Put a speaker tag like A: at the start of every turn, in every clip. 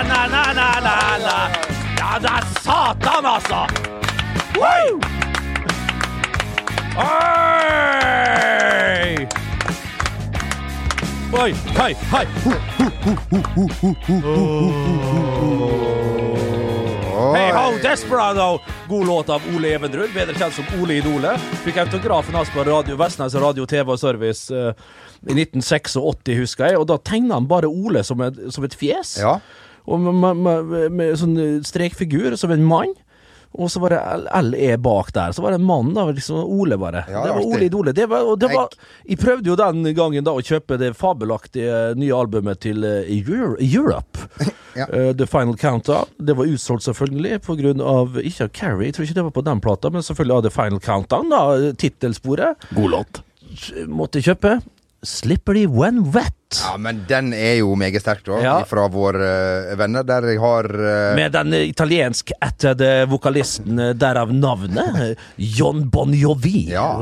A: Na-na-na-na-na-na-na-na-na. Ja, det er satan, altså! Hei! Hei! Oi, hei, hei! Ho, ho, ho, ho, ho, ho, ho, ho, ho, ho. Hey ho, Desperado! God låt av Ole Evenrud, bedre kjent som Ole Idolet. Fikk autografen hans på radio, Vestnes Radio TV og Service eh, i 1986, husker jeg. Og da tegna han bare Ole som et, som et fjes.
B: Ja.
A: Og med, med, med, med sånn eh, strekfigur som en mann. Og så var det L- LE bak der. Så var det en mann, da. Liksom Ole, bare.
B: Ja,
A: det var
B: artig.
A: Ole Idole. Det var, og det var,
B: Jeg-
A: jeg prøvde jo den gangen da å kjøpe det fabelaktige nye albumet til eh, Euro, Europe.
B: Ja.
A: Eh, The Final Countdown. Det var utsolgt, selvfølgelig, på grunn av Ikke av Carrie, jeg tror ikke det var på den plata, men selvfølgelig av The Final Countdown, da. Tittelsporet.
C: God låt.
A: Måtte kjøpe Slippery When Wet.
B: Ja, men den er jo megasterk, da.
A: Ja.
B: Fra våre eh, venner, der jeg har eh,
A: Med den eh, italiensk-ættede vokalisten, eh, derav navnet, eh, John Bon Jovi.
B: ja.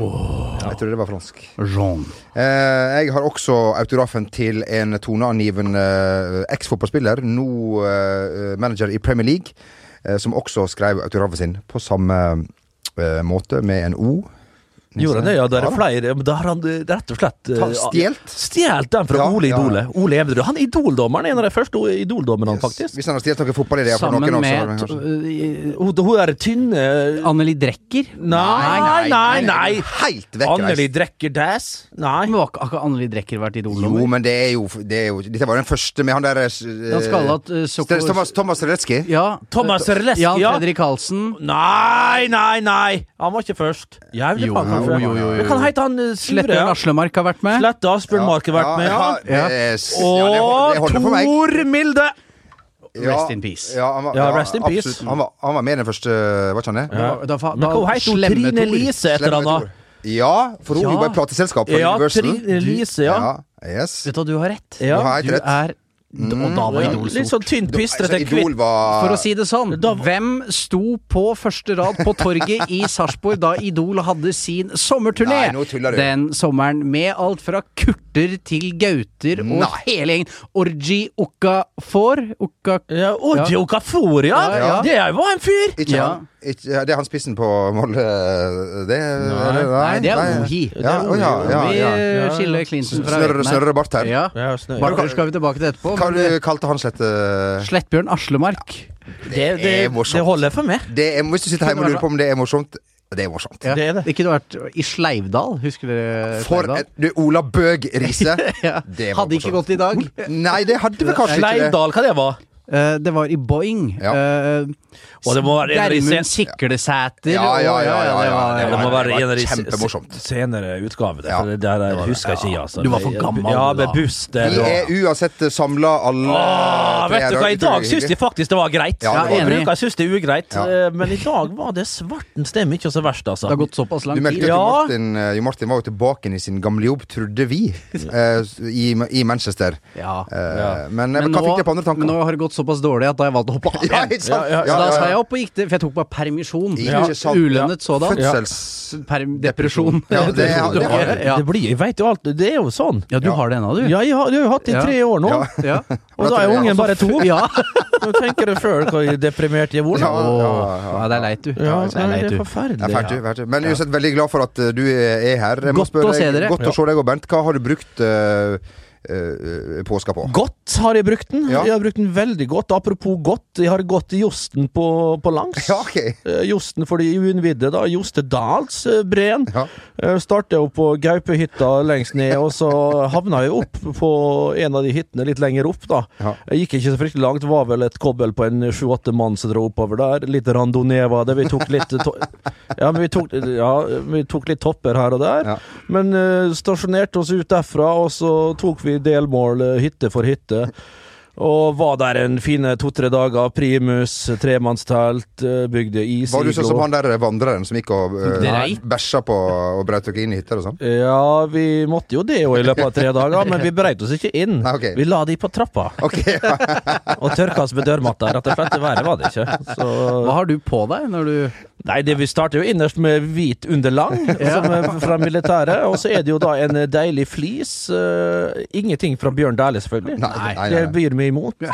B: Jeg trodde det var fransk.
C: Jean.
B: Eh, jeg har også autografen til en toneangivende eh, eksfotballspiller, nå eh, manager i Premier League, eh, som også skrev autografen sin på samme eh, måte, med en O.
A: Gjorde han det? Ja, det er
B: da.
A: flere. Men da har han eh, rett og slett eh,
B: Ta- stjelt?
A: Stjålet den fra
B: Ja,
A: Ole
B: ja.
A: Idole. Ole Evenrud. Han er idoldommeren. En av de første idoldommerne, faktisk.
B: Hvis han har stjålet noen fotballideer fra
C: Sammen
B: noen også,
C: med eh,
B: da, kanskje.
A: Hun, hun er tynne
C: Anneli Drecker.
A: Nei, nei, nei!
B: Helt vekk,
A: Anneli Drekker Dæs? Nei.
C: Men var ikke akkurat Anneli Drecker vært
B: Jo,
C: idolnummer?
B: men det er jo, det er jo Dette var den første med han der eh,
C: Han skal ha hatt, eh, Soko-
B: St- Thomas, Thomas Redetzky.
C: Ja.
A: Thomas
C: eh,
A: Releski,
C: Jan
A: ja.
C: Fredrik Karlsen.
A: Nei, nei, nei! Han var ikke først. Jævlig
C: Jo,
A: faen, kanskje.
C: jo, jo, jo, jo.
A: Men Kan heite han eh, Sure?
C: Slettbjørn Aslemark har vært med.
A: Sletta Asbjørnmark har vært med, ja.
B: ja.
C: Ja.
B: eh, s- ja, det hold- det
A: Og
B: holder for meg.
A: Tor Milde!
B: Ja,
C: Rest in peace.
B: Ja, han var,
A: Ja, rest in peace.
B: absolutt. Han var, han var med den første, var ikke han det?
C: Da, da, da,
A: Men hva heter hun?
C: slemme
A: Trine
C: Thor.
A: Lise, heter
B: Slemme
A: han da.
B: Tor. Ja, for hun
C: Ja.
B: jobber i plateselskap for
A: Ja,
B: Universal.
A: Trine Lise, ja.
B: yes.
C: Vet du hva, du har rett.
A: Ja.
B: Du har helt
C: Du
B: rett.
C: er Og da var
A: Ja,
C: Idol
A: Litt
C: stort.
A: sånn tynt
B: Så
A: pistrete,
B: Mm. altså, Idol
A: kvitt
B: var
C: For å si det sånn,
A: Da var-
C: hvem sto på første rad på torget i Sarpsborg da Idol hadde sin sommerturné?
B: Nei, nå tuller du.
C: Den sommeren med alt fra kurter til gauter og
B: Nei.
C: hele gjengen. Orgi Okafor Oka...
A: Ja, Oji
C: Ja.
A: Okafor, ja.
C: Ja, ja.
A: Det var en fyr!
B: ikke
C: Ja.
B: han, ikke, ja, det er han spissen på Molde eh, Det Nei,
C: Nei, det er Ohi.
B: Ja,
A: Det er
B: å ja, ja,
C: Vi
B: ja.
C: eh, skiller Klinsen fra
B: Snørre,
C: Vetten her.
B: snørre bart her.
C: Ja.
A: Ja, snø-
C: Barter skal vi tilbake til etterpå.
B: Hva
C: men-
B: du kalte han slett eh,
C: Slettbjørn Aslemark.
A: det, det,
B: er morsomt.
A: det holder for meg.
B: det er, Hvis du sitter hjemme og lurer på om det er morsomt, det er morsomt.
C: Ja.
A: Det er det.
C: Ikke du har vært i Sleivdal, husker dere?
B: For
C: Sleivdal?
B: en, du, Ola Bøg Riise.
C: ja.
B: Det var
C: Hadde
B: morsomt.
C: ikke gått i dag.
B: Nei, det hadde vi kanskje ikke. det
A: Sleivdal, hva det var?
C: Eh, det var i Boeing.
B: Ja.
C: Eh,
A: Og det må være en av de
C: Gjermund
A: sen-
C: Siklesæter.
B: Ja, ja, ja, ja, ja, ja,
A: Det
B: ja.
C: var-
A: må
B: det
A: være
B: var
A: en av de se-
B: kjempemorsomt.
A: se- senere utgaver.
B: Ja,
A: for det der jeg husker ikke jeg, altså.
C: Du var for gammel,
A: Ja,
C: du, da.
A: med buss der
B: Vi er
A: og
B: uansett samla alle
A: Åh, vet
B: tre
A: du
B: her,
A: hva,
B: og
A: i
B: det tror
A: dag
B: jeg er
A: syns de faktisk det var greit.
B: Ja, det
C: var
A: Jeg
C: det.
A: bruker syns det er ugreit,
B: Ja.
A: eh, men i dag var det svartens stemme ikke så verst, altså.
C: Det har gått såpass lang
B: Du meldte
C: tid.
B: jo at
A: Ja.
B: Jo Martin, eh, Jo Martin var jo tilbake igjen i sin gamle jobb, trodde vi, eh, i, i Manchester.
C: Ja.
B: Eh, Men, men, hva fikk deg på andre tanker?
C: men nå har det gått såpass dårlig at da har jeg valgt å hoppe av
B: ja,
C: igjen.
B: ikke sant?
A: Ja, ja,
C: Så da sa jeg opp og gikk til, for jeg tok meg permisjon.
B: Ja. Ikke sant.
C: Ulønnet sådan.
B: Fødsels...
C: Perm- Depresjon.
B: Ja, det- det
C: Ja,
B: har jeg.
C: ja.
A: Det blir, jeg vet jo alt, det er jo sånn.
C: Ja, du har det ennå, du.
A: Ja, jeg har, jeg har jo hatt det i
C: Ja.
A: tre år nå,
B: Ja.
C: Ja.
A: og da er ungen bare to.
C: Ja.
A: Nå tenker du sjøl hvor deprimert jeg var.
B: Ja,
A: Ja,
B: ja,
C: Åh, ja, det er leit, du.
A: ja,
C: det er
A: nei,
C: leit,
A: det er
C: du.
A: forferdelig.
B: Det er fælt, du, fælt, du. Men uansett, veldig glad for at eh, du er her. Jeg må
C: Godt å se
B: deg-
C: dere.
B: Godt å se deg og Bernt. Hva har du brukt eh, eh, påska på?
A: Godt har jeg brukt den.
B: Ja.
A: Jeg har brukt den veldig godt. Apropos godt, jeg har gått josten på, på langs.
B: Ja, ok.
A: Eh, Josten for de uinnvidde, da. Jostedalsbreen.
B: Ja.
A: Eh, Starta jo på Gaupehytta lengst ned, og så havna jeg opp på en av de hyttene litt lenger opp, da.
B: Ja.
A: Jeg gikk ikke så fryktelig langt, var vel et kobbel på en sju-åtte mann som dro oppover der. Litt randonee var det. Vi tok litt to ja, men vi tok, ja, vi tok litt topper her og der.
B: Ja.
A: Men eh, stasjonerte oss ut derfra, og så tok vi delmål eh, hytte for hytte. Og var der en fine to-tre dager. Primus, tremannstelt, eh, bygde is.
B: Var du sånn som han der vandreren som gikk og eh,
C: Dreit.
B: bæsja på og brøt dere inn i hytter og sånn?
A: Ja, vi måtte jo det jo i løpet av tre dager, men vi breit oss ikke inn.
B: Nei, ok.
A: Vi la de på trappa
B: Ok, ja.
A: og tørka oss med dørmatta. Rett og slett, verre var det ikke. Så
C: Hva har du på deg når du
A: Nei, det, vi starter jo innerst med hvit underlang som er fra militæret, og så er det jo da en eh, deilig flis. eh, ingenting fra Bjørn Dæhlie, selvfølgelig.
B: Nei, nei, nei, nei.
A: Det byr meg imot.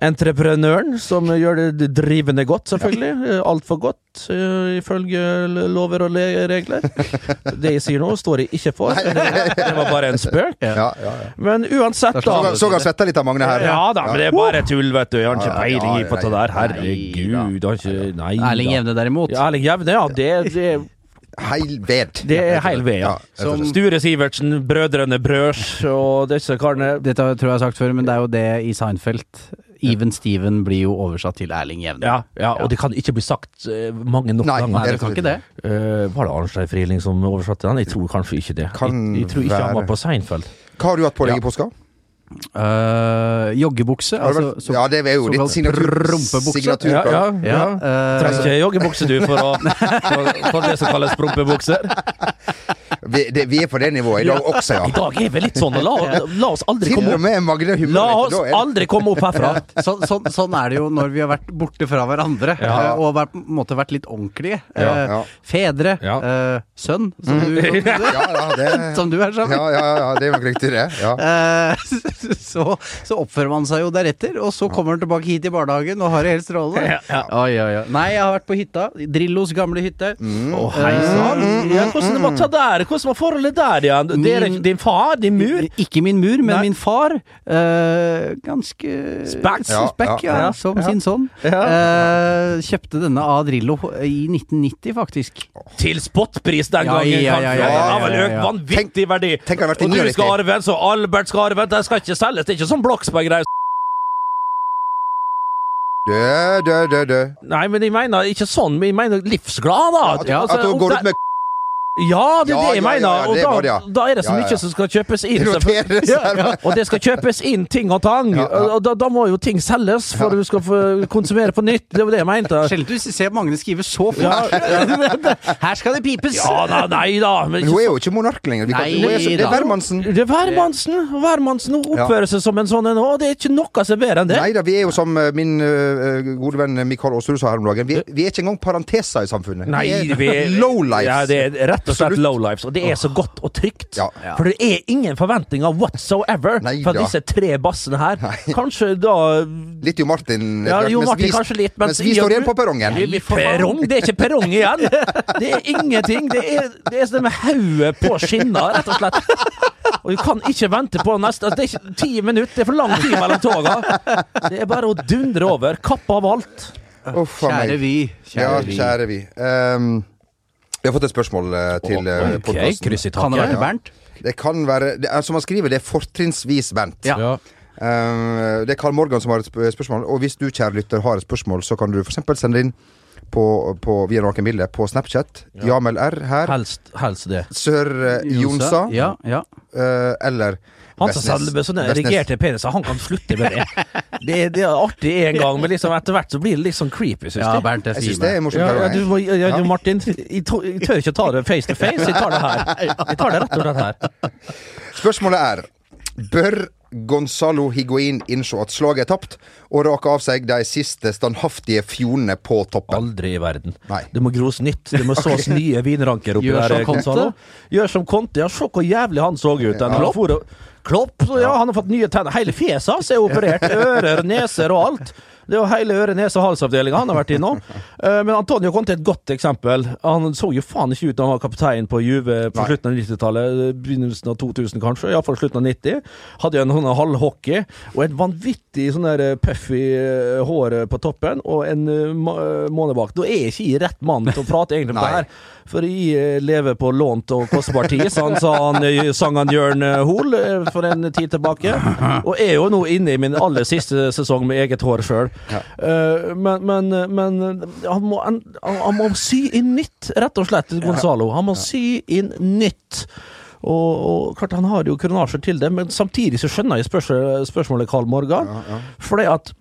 A: Entreprenøren som gjør det drivende godt, selvfølgelig. Altfor godt, eh, ifølge l- lover og le- regler. Det jeg sier nå, står jeg ikke for. Det det var bare en spøk.
B: Ja, sånn ja, ja.
A: Men uansett,
B: Så
A: da.
B: han- Så han svetta litt av Magne her.
A: Ja da, men det er bare tull, vet du. Jeg har ikke
B: Ja, ja,
A: peiling
B: ja,
A: på det
B: ja,
A: der.
B: ja.
A: Herregud. Har ikke Nei da.
C: Erling Jevne derimot.
A: Ja, Erling Jevne, ja. Det, det,
B: Heil ved.
A: det er heil ved, ja.
B: Ja, rett og slett.
A: Sture Sivertsen, Brødrene Brørs og disse karene.
C: Dette tror jeg jeg har sagt før, men det er jo det i Seinfeld. Even Steven blir jo oversatt til Erling Jevne.
A: Ja, ja, og det kan ikke bli sagt eh, mange nok
B: Nei,
A: ganger.
B: det-
C: Du kan ikke det?
A: Eh, var det Arnstein Frieling som oversatte den? Jeg tror kanskje ikke det.
B: Kan
A: jeg, jeg tror ikke han var
B: være.
A: på Seinfeld.
B: Hva har du hatt på deg i
A: Ja.
B: påska?
C: Øh, joggebukse.
B: Har du
C: Altså,
B: vært-
C: så,
B: ja, det er jo ditt
C: såkalt
B: signatur,
C: rumpebukse.
B: signatur
A: Ja, ja,
C: ja,
A: ja.
B: eh,
C: øh,
A: Trenger ikke joggebukse, du, for, å, for, for det som kalles prompebukser.
B: Vi, det, vi er på det nivået i dag også, ja.
A: I dag er vi litt sånn, og la, la oss aldri
B: Til
A: komme
B: og
A: opp.
B: med Magne humrer
A: La
B: litt,
A: oss
B: da er det-
A: aldri komme opp herfra.
C: så, sånn- sånn er det jo når vi har vært borte fra hverandre
A: Ja.
C: øh, og vært, på en måte vært litt ordentlige.
A: Ja,
C: Øh,
B: ja.
C: Fedre.
A: Ja.
C: øh, sønn, som du,
B: Ja, ja, det,
C: som du er sammen
B: ja, ja, ja, det er nok riktig, det. Ja.
C: Eh, så, så oppfører man seg jo deretter, og så kommer han tilbake hit i barnehagen og har det helt strålende.
A: Ja, ja.
C: Oi, oi, oi. Nei, jeg har vært på hytta. Drillos gamle hytte.
B: Mm.
A: Å, hei sann. Ja, hvordan var ta der? Hvordan var forholdet der igjen? Dere,
C: Min-
A: din far? Din mur?
C: Ikke min mur, men
A: Nei.
C: min far. eh, ganske
A: Spekk.
B: Ja,
C: spekk, ja,
A: ja, ja.
C: som sin sønn.
A: Ja.
C: Eh, kjøpte denne av Drillo i 1990, faktisk.
A: Til spotpris den
C: Ja,
A: gangen,
C: ja, ja,
A: kanskje.
C: ja,
B: ja,
A: Det har vel
C: ja,
A: økt
C: ja.
A: vanvittig verdi.
B: Tenk hadde vært
A: Og du
B: inngjørlig.
A: skal arve en, så Albert skal arve en. Den skal ikke selges. Det er ikke sånn Bloksberg-greie.
B: Dø, dø, dø, dø.
A: Nei, men jeg mener ikke sånn. Men jeg mener livsglad, da. Altså,
B: At, at hun går ut med
A: Ja, det er
B: Ja,
A: det jeg
B: ja, ja,
A: mener.
B: ja, det var
A: Og
B: det,
A: da,
B: ja.
A: da er det så
B: Ja, ja, ja.
A: mye som skal kjøpes inn.
B: roteres
A: Ja,
B: her.
A: ja. Og det skal kjøpes inn ting og tang.
B: Ja, ja.
A: Og da, da må jo ting selges for du skal få konsumere på nytt. Det var det jeg mente.
C: Sjelden du ser Magne skrive så fort. Her skal det pipes!
A: Ja da, nei da. Men
B: Men hun er jo ikke monark lenger. Vi kan,
C: Nei,
B: hun er, så- det er
C: da.
B: Wermansen.
A: det er hvermannsen. og Hvermannsen hun oppfører seg som en sånn en òg. Det er ikke noe som er bedre enn det.
B: Nei da, vi er jo som eh, min eh, gode venn Mikael Aasrud sa her om dagen. Vi, vi er ikke engang parenteser i samfunnet. lowlifes.
A: Ja, det er rett og slett
B: Absolutt.
A: lowlifes. Og det er så godt og trygt.
B: Ja.
A: For det er ingen forventninger whatsoever
B: Nei
A: fra
B: da.
A: disse tre bassene her. Kanskje da
B: Litt Jo Martin. etter
A: Ja,
B: hvert,
A: Jo
B: mens
A: Martin
B: vi-
A: kanskje litt, mens
B: mens vi
A: i og
B: står igjen
A: du-
B: på perrongen.
A: Vi- vi- Perrong? Det er ikke perrong igjen! Det er ingenting. Det er, det er sånn med hodet på skinna, rett og slett. Og du kan ikke vente på neste altså, Det er ikke ti minutter, det er for lang tid mellom toga. Det er bare å dundre over. Kapp av alt.
B: Uff a
C: Kjære
B: meg.
C: vi.
B: Ja,
C: Kjære vi.
B: kjære vi. Ehm, vi har fått et spørsmål eh, til uh,
A: Ok, kryss i
C: Kan det være
A: taket.
C: Bernt?
B: Det kan være det, er- Som han skriver, det er fortrinnsvis Bernt.
C: Ja.
B: Eh, det er Karl Morgan som har et sp- spørsmål. Og hvis du, kjære lytter, har et spørsmål, så kan du f.eks. sende inn på, på, via nakenbilde på Snapchat. Jamel R her.
A: Helst, helst det.
B: Sør eh, Jonsa.
C: Ja, ja.
B: eh, eller
A: Han som selger sånne erigerte peniser, han kan slutte med det. Det, det er artig en gang, men liksom etter hvert så blir det litt sånn creepy, syns
C: ja,
A: jeg.
C: Bernt, jeg
B: Jeg syns
C: sier
B: det er morsomt.
A: Ja, ja,
B: Karl.
A: du, må- ja, ja,
B: Ja.
A: du, Martin, jeg, tå- jeg tør ikke ta det face to face, jeg tar det her. Jeg tar det rett og slett her.
B: Spørsmålet er Bør Gonzalo Higuain innse at slaget er tapt, og rake av seg de siste standhaftige fjonene på toppen?
A: Aldri i verden.
B: Nei.
A: Det må gros nytt. Det må sås nye vinranker oppi
C: Gjør
A: der.
C: som
A: eh,
C: Conte.
A: Gonzalo. Gjør som Conte. Ja, se hvor jævlig han så ut. Den
C: Klopp.
A: for å- Klopp, så ja, han har fått nye tenner. Hele fjeset hans er operert. Ører, neser og alt. Det er jo hele øre-, nese- og halsavdelinga han har vært innom. Eh, Men Antonio Conte er et godt eksempel. Han så jo faen ikke ut da han var kaptein på Juve på
B: Nei.
A: slutten av 90-tallet. Begynnelsen av 2000, kanskje. Iallfall slutten av 90. Hadde jo en sånn halvhockey og et vanvittig sånn der eh, puffy eh, hår eh, på toppen og en eh, ma- eh, måned bak. Da er jeg ikke jeg rett mann til å prate egentlig om det
B: Nei.
A: her. For jeg eh, lever på lånt og kostbar tid, sa han, sa han eh, sang han Jørn eh, Hoel eh, for en tid tilbake. Og er jo nå inne i min aller siste sesong med eget hår sjøl. Eh, Men, men, men eh, han, må, han, han må sy inn nytt, rett og slett, Gonzalo. Han må sy inn nytt. Og, og klart han har jo kronasjer til det, men samtidig så skjønner jeg spørsmål, spørsmålet, Karl Morgan. Fordi at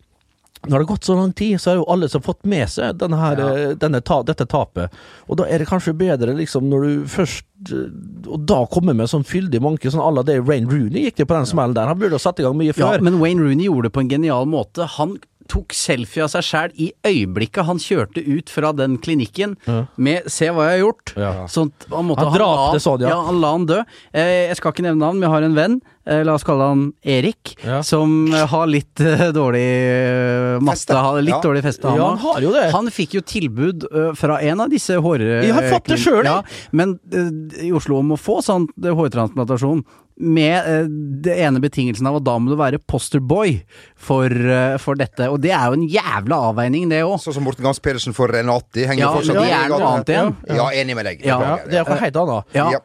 A: når det har gått så lang tid, så er jo alle som har fått med seg denne her, eh, denne ta, dette tapet. Og da er det kanskje bedre, liksom, når du først eh, Og da kommer med sånn fyldig manke, sånn à la det Rain Rooney gikk det på den smellen der. Han burde ha satt i gang mye
C: Ja,
A: før.
C: men Wayne Rooney gjorde det på en genial måte. Han tok selfie av seg sjæl i øyeblikket han kjørte ut fra den klinikken med 'se hva jeg har gjort'.
A: Ja.
C: Sånn, at han måtte,
A: Han drapte sånn, ja.
C: ja. Han la han dø. Eh, jeg skal ikke nevne navn, men jeg har en venn, eh, la oss kalle han Erik,
A: Ja.
C: som eh, har litt eh, dårlig eh, matte,
B: Feste.
C: har litt
B: Ja.
C: dårlig feste.
A: Ja, han
C: også.
A: har jo det.
C: Han fikk jo tilbud ø, fra en av disse hår...
A: Jeg har fått det
C: klin-
A: selv, jeg.
C: Ja, men ø, i Oslo om å få sånn ø, hårtransplantasjon med ø, det ene betingelsen av at da må du være posterboy for, ø, for dette. Og det er jo en jævla avveining, det òg.
B: Sånn som Morten Gans Pedersen for Renati. Henger
C: Ja,
B: fortsatt i
C: det er noe
B: gatene.
C: annet igjen.
B: Ja, enig med deg.
C: Ja,
A: Ja,
B: Beklager.
A: det er noe helt annet.
C: Ja.
B: Ja.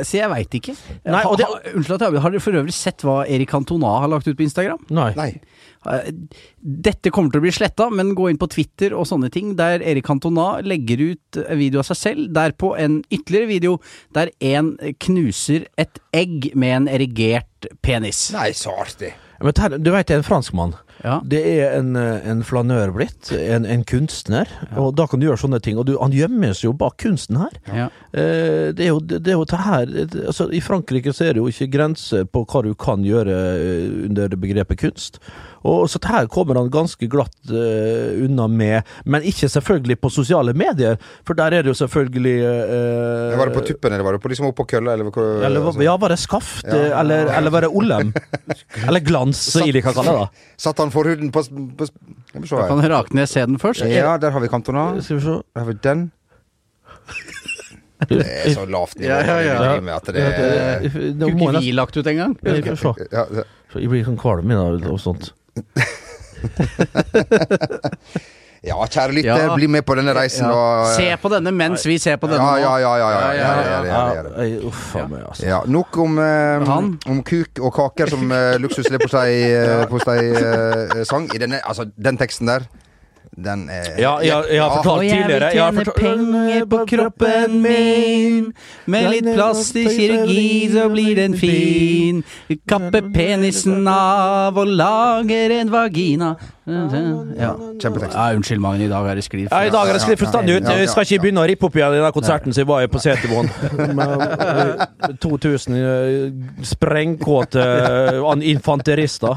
C: ø, så jeg veit ikke.
A: Nei, og det-
C: ha, ha, unnskyld at jeg avbryter. Har dere for øvrig sett hva Erik Cantona har lagt ut på Instagram?
A: Nei.
B: Nei.
C: Eh, Dette kommer til å bli sletta, men gå inn på Twitter og sånne ting, der Erik Cantona legger ut eh, video av seg selv. Derpå en ytterligere video der en eh, knuser et egg med en erigert penis.
B: Nei, så artig.
A: Men her, du veit det er en franskmann.
C: Ja.
A: Det er en, eh, en flanør blitt. En, en kunstner. Og da kan du gjøre sånne ting. Og du, han gjemmes jo bak kunsten her.
C: Ja.
A: Eh, Det er jo det er jo det her det- altså, I Frankrike så er det jo ikke grenser på hva du kan gjøre eh, under det begrepet kunst. Og så det her kommer han ganske glatt eh, unna med, men ikke selvfølgelig på sosiale medier, for der er det jo selvfølgelig eh,
B: Var det på altså? tuppen, eller var det på, liksom opp på kølla, eller hva?
A: eller, var- ja, var det Skaft? eh, Eller, eller var det Olem? Eller Glans, som jeg liker å kalle det. da
B: Satt han forhuden på, på Skal vi se
C: Kan
B: her.
C: Raknes se den først?
B: Ja, der har vi Cantona.
A: Skal vi se
B: Der har vi den. Det er så lavt nivå.
C: Ja, ja, ja.
B: vi driver Med at det er,
A: Nå
C: Kunne
A: må
C: ikke
A: jeg
C: vi lagt ut engang?
A: nesten Skal vi se.
B: ja, det-
A: Jeg blir sånn kvalm i dag og sånt.
B: ja, kjære lytter,
C: Ja.
B: bli med på denne reisen og
C: Se på denne mens vi ser på denne.
B: Ja,
C: nå.
B: ja, ja. ja, ja, ja, ja, ja, ja, ja, ja.
A: Ja, jeg- Uff a meg, altså.
B: Ja, nok om, eh,
C: Han.
B: om kuk og kaker som eh, luksusleverpostei-sang. I denne, altså, den teksten der, den er
A: Ja, jeg, jeg har
C: Og
A: fortalt
C: jeg vil
A: tidligere jeg har
C: tjene
A: fortalt-
C: penger på kroppen min. Med litt plastisk kirurgi så blir den fin. Kappe penisen av og lager en vagina. Ja.
B: Kjempetekst.
C: Ja, unnskyld, Magne. I dag er det skriv.
A: Ja, I dag er det sklidd fullstendig ut.
B: Ja, ja,
A: Jeg skal ikke
B: ja.
A: begynne å rippe opp igjen i den konserten som jeg var i på Setermoen. Med, eh, 2000 eh, sprengkåte eh, an- infanterister.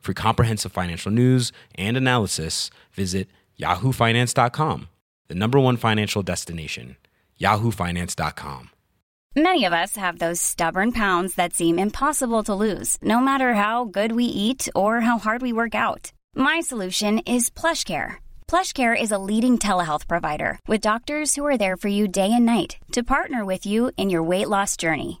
D: For comprehensive financial news and analysis, visit yahoofinance.com, the number one financial destination, yahoofinance.com.
E: Many of us have those stubborn pounds that seem impossible to lose, no matter how good we eat or how hard we work out. My solution is PlushCare. PlushCare is a leading telehealth provider with doctors who are there for you day and night to partner with you in your weight loss journey.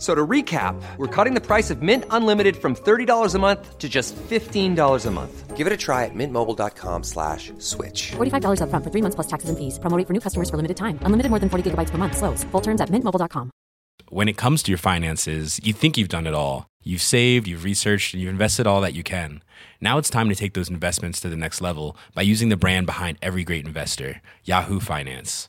F: So to recap, we're cutting the price of Mint Unlimited from $30 a month to just $15 a month. Give it a try at mintmobile.com slash switch.
G: $45 up front for three months plus taxes and fees. Promo rate for new customers for limited time. Unlimited more than 40 gigabytes per month. Slows. Full terms at mintmobile.com.
D: When it comes to your finances, you think you've done it all. You've saved, you've researched, and you've invested all that you can. Now it's time to take those investments to the next level by using the brand behind every great investor, Yahoo Finance.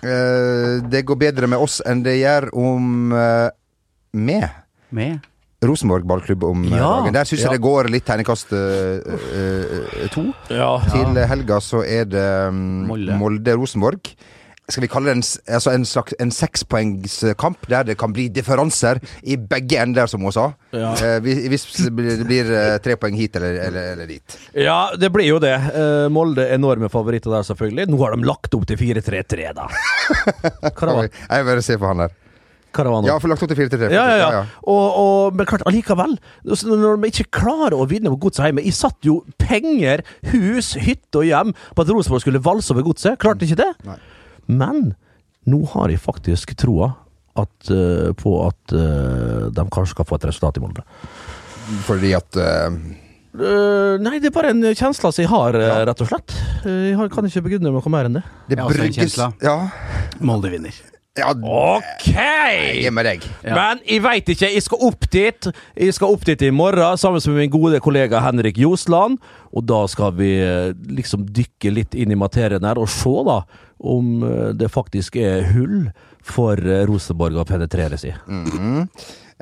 B: eh, Det går bedre med oss enn det gjør om eh, med.
C: Med.
B: Rosenborg ballklubb om eh,
A: Ja.
B: dagen. Der syns jeg
A: Ja.
B: det går litt tegnekast eh, eh, eh, to.
A: Ja.
B: Til helga så er det mm,
C: Molde.
B: Molde-Rosenborg. Skal vi kalle det en, s- altså en slags en sekspoengskamp der det kan bli differanser i begge ender, som hun sa? Eh, hvis- hvis det blir, det blir eh, tre poeng hit eller, eller, eller dit.
A: ja, det blir jo det. Eh, Molde enorme favoritter der, selvfølgelig. Nå har de lagt opp til 4-3-3, da. Hva det var
B: Jeg bare ser på han der.
A: Hva det var nå?
B: Ja, for lagt opp til 4-3.
A: Ja, ja, ja. Og, og, men klart, allikevel. så Når de ikke klarer å vinne på Godset hjemme Jeg satt jo penger, hus, hytte og hjem på at Rosenborg skulle valse over Godset. Klarte ikke det.
B: Nei.
A: Men nå har jeg faktisk troa at, eh, på at eh, de kanskje skal få et resultat i Molde.
B: Fordi at eh,
A: Eh, nei, det er bare en kjensle som jeg har, eh, rett og slett. Eh, jeg har, kan ikke begrunne noe mer enn det.
B: det
C: Jeg har også en
B: brygges
C: kjensle.
B: Ja,
C: Molde vinner.
B: ja
A: OK!
B: jeg er med deg.
C: Ja.
A: Men jeg veit ikke. Jeg skal opp dit Jeg skal opp dit i morgen sammen med min gode kollega Henrik Ljosland. Og da skal vi eh, liksom dykke litt inn i materien her og se da om eh, det faktisk er hull for eh, Rosenborg å penetreres i.
B: Mm.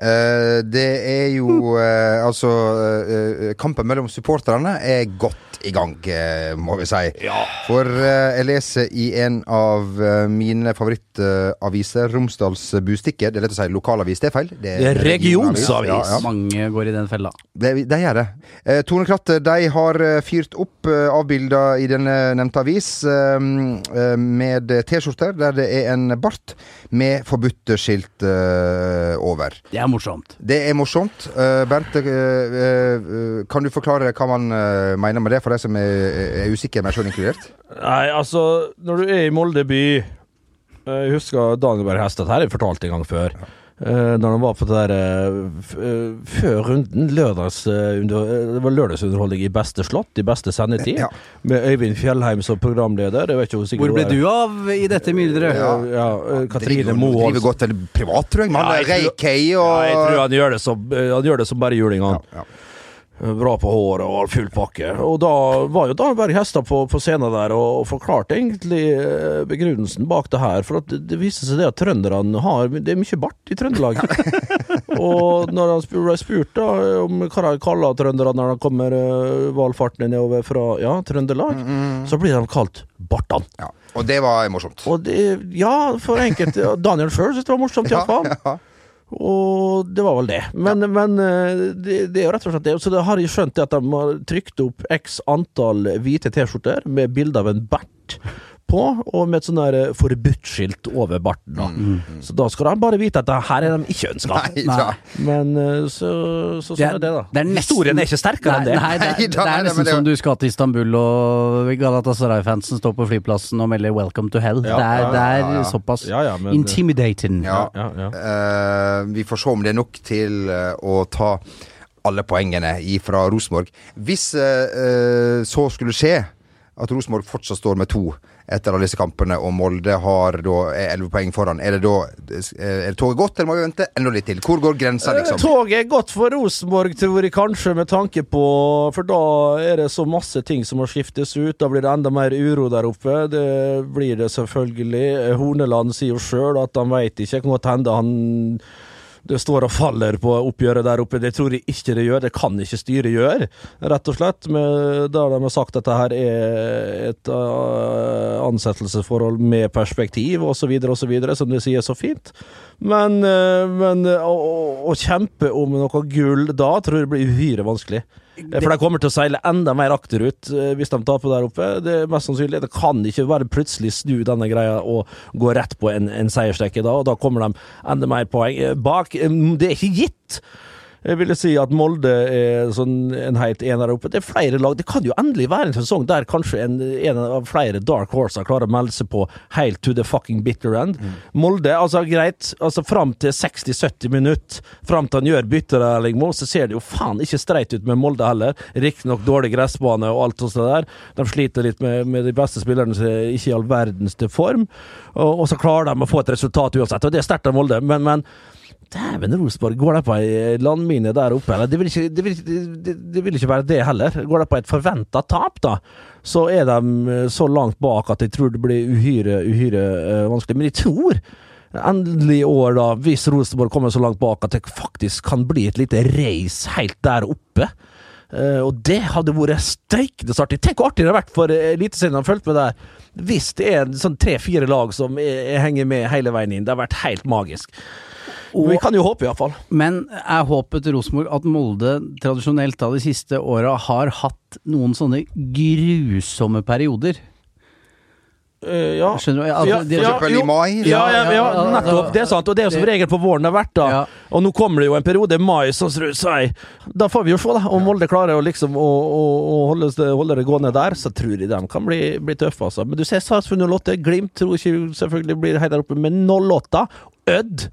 B: Eh, det er jo eh, Altså, eh, eh, kampen mellom supporterne er godt i gang, eh, må vi si. For eh, jeg leser i en av eh, mine favorittaviser, Romsdals Bustikke. Det er lett å si lokalavis, det er feil.
A: Det er regionavis.
B: Ja, ja.
C: Mange går i den fella.
B: Det, de gjør det. Eh, Tone Kratte de har eh, fyrt opp eh, avbilder i den eh, nevnte avis eh, eh, med T-skjorter der det er en bart med forbudt-skilt eh, over.
C: Det er morsomt.
B: Det er morsomt. Eh, Bernt, eh, eh, kan du forklare hva man eh, mener med det, for de som er, er usikre, meg sjøl inkludert?
A: Nei, altså, når du er i Molde by eh, Jeg husker Danielberg Hestad her, jeg fortalte en gang før. eh, Når han var på det der eh, f- eh, Før runden, lørdags, eh, under- eh, det var lørdagsunderholdning i beste slott, i beste sendetid,
B: Ja.
A: med Øyvind Fjellheim som programleder. Jeg vet ikke hvor sikkert
C: Hvor ble du av i dette mylderet?
A: Ja, ja, eh, Katrine
B: Driver-
A: Moe
B: Driver godt til privat, tror jeg. Man
A: Ja, jeg
B: Ray
A: tror-
B: Kay
A: Ja, jeg tror
B: og
A: han gjør det som, eh, han gjør det som bare juling, han.
B: ja.
A: Bra på håret og full pakke. Og da var jo Dahlberg Hestad på, på scenen der og, og forklarte egentlig eh, begrunnelsen bak det her. For at det, det viser seg det at trønderne har Det er mye bart i Trøndelag. og når han spur- ble spurt da om hva de kaller trønderne når de kommer eh, valfartende nedover fra ja, Trøndelag, så blir de kalt Bartan.
B: ja. Og det var morsomt.
A: Og det, ja, for enkelte Daniel sjøl syntes det var morsomt, iallfall.
B: ja.
A: Og det var vel det. Men, men eh, det, det er jo rett og slett det. Så da har jeg skjønt det at de har trykt opp x antall hvite T-skjorter med bilde av en bert på, og med et sånn der eh, forbudt-skilt over barten. da.
C: Mm.
A: Så da skal de bare vite at det her er de ikke ønska.
B: Mm. Nei,
C: Nei.
B: da.
A: Men eh, så, så sånn er det, da.
C: er nesten-
A: Historien er ikke sterkere enn det.
C: Nei, nei, det, er,
B: Nei,
C: det
B: nei,
C: er
B: men
C: nesten
B: det-
C: som du skal til Istanbul og Galatasaray-fansen står på flyplassen og melder 'Welcome to hell'.
A: Ja,
C: det er,
A: ja,
C: det er
B: ja, ja.
C: såpass
A: Ja, ja, men-
C: intimidating.
B: Ja.
A: Ja, ja.
B: Eh, vi får se om det er nok til eh, å ta alle poengene fra Rosenborg. Hvis eh, eh, så skulle skje at Rosenborg fortsatt står med to etter alle disse kampene, og Molde har da er 11 poeng foran, er det da eh, er toget gått, eller må vi vente enda litt til? Hvor går
A: Eh,
B: grensa, liksom?
A: Toget er godt for Rosenborg, tror jeg kanskje, med tanke på For da er det så masse ting som må skiftes ut. Da blir det enda mer uro der oppe. Det blir det selvfølgelig. Horneland sier jo sjøl at han veit ikke. Kan godt hende han det står og faller på oppgjøret der oppe. Det tror jeg ikke det gjør. Det kan ikke styret gjøre, rett og slett. Med, der de har sagt at dette her er et øh, ansettelsesforhold med perspektiv osv., osv., som de sier så fint. Men, øh, men øh, å, å- å kjempe om noe gull da, tror jeg blir uhyre vanskelig. Eh, For de kommer til å seile enda mer akterut eh, hvis de taper der oppe. Det er mest sannsynlig. Det kan ikke bare plutselig snu denne greia og gå rett på en, en seiersrekke da, og da kommer de enda mer poeng eh, bak. Eh, Det er ikke gitt! Jeg ville si at Molde er sånn en heit ener oppe. Det er flere lag. Det kan jo endelig være en sesong der kanskje en, en av flere dark horser klarer å melde seg på helt to the fucking bitter end. Molde, altså greit, altså fram til 60-70 minutter, fram til han gjør bytter, Erling Moe, så ser det jo faen ikke streit ut med Molde heller. Riktignok dårlig gressbane og alt sånt der. De sliter litt med, med de beste spillerne som er ikke i all verdens til form, og, og så klarer de å få et resultat uansett, og det er sterkt av Molde, men, men sånn, Dæven, Rosenborg. Går de på ei landmine der oppe? Eller det vil, ikke, det, vil, det, det vil ikke være det heller. Går de på et forventa tap, da, så er de eh, så langt bak at jeg tror det blir uhyre, uhyre eh, vanskelig. Men jeg tror endelig i år, da, hvis Rosenborg kommer så langt bak at det faktisk kan bli et lite race helt der oppe. Eh, og det hadde vært steikende artig. Tenk hvor artig det hadde vært for eh, Eliteserien han fulgte med der. Hvis det er en sånn tre-fire lag som eh, henger med hele veien inn. Det hadde vært helt magisk.
C: Og-
A: Vi kan jo håpe, iallfall.
C: Men er håpet til Rosenborg at Molde tradisjonelt da de siste åra har hatt noen sånne grusomme perioder?
A: Uh, ja.
C: Skjønner du? Ja, altså, de-
B: For eksempel i
A: jo.
B: mai.
A: Ja, ja, ja,
C: Ja, ja, ja.
A: nettopp. Det er sant. Og det er jo som regel på våren det har vært, da.
C: Ja.
A: Og nå kommer det jo en periode, mai, sånn som du sier. Da får vi jo se, da. Om Molde klarer å liksom å, å, å holde, det- holde det gående der, så tror jeg de kan bli, bli tøffe, altså. Men du ser Sarpsborg 08. Glimt tror ikke selvfølgelig blir helt der oppe, men 08. Ødd.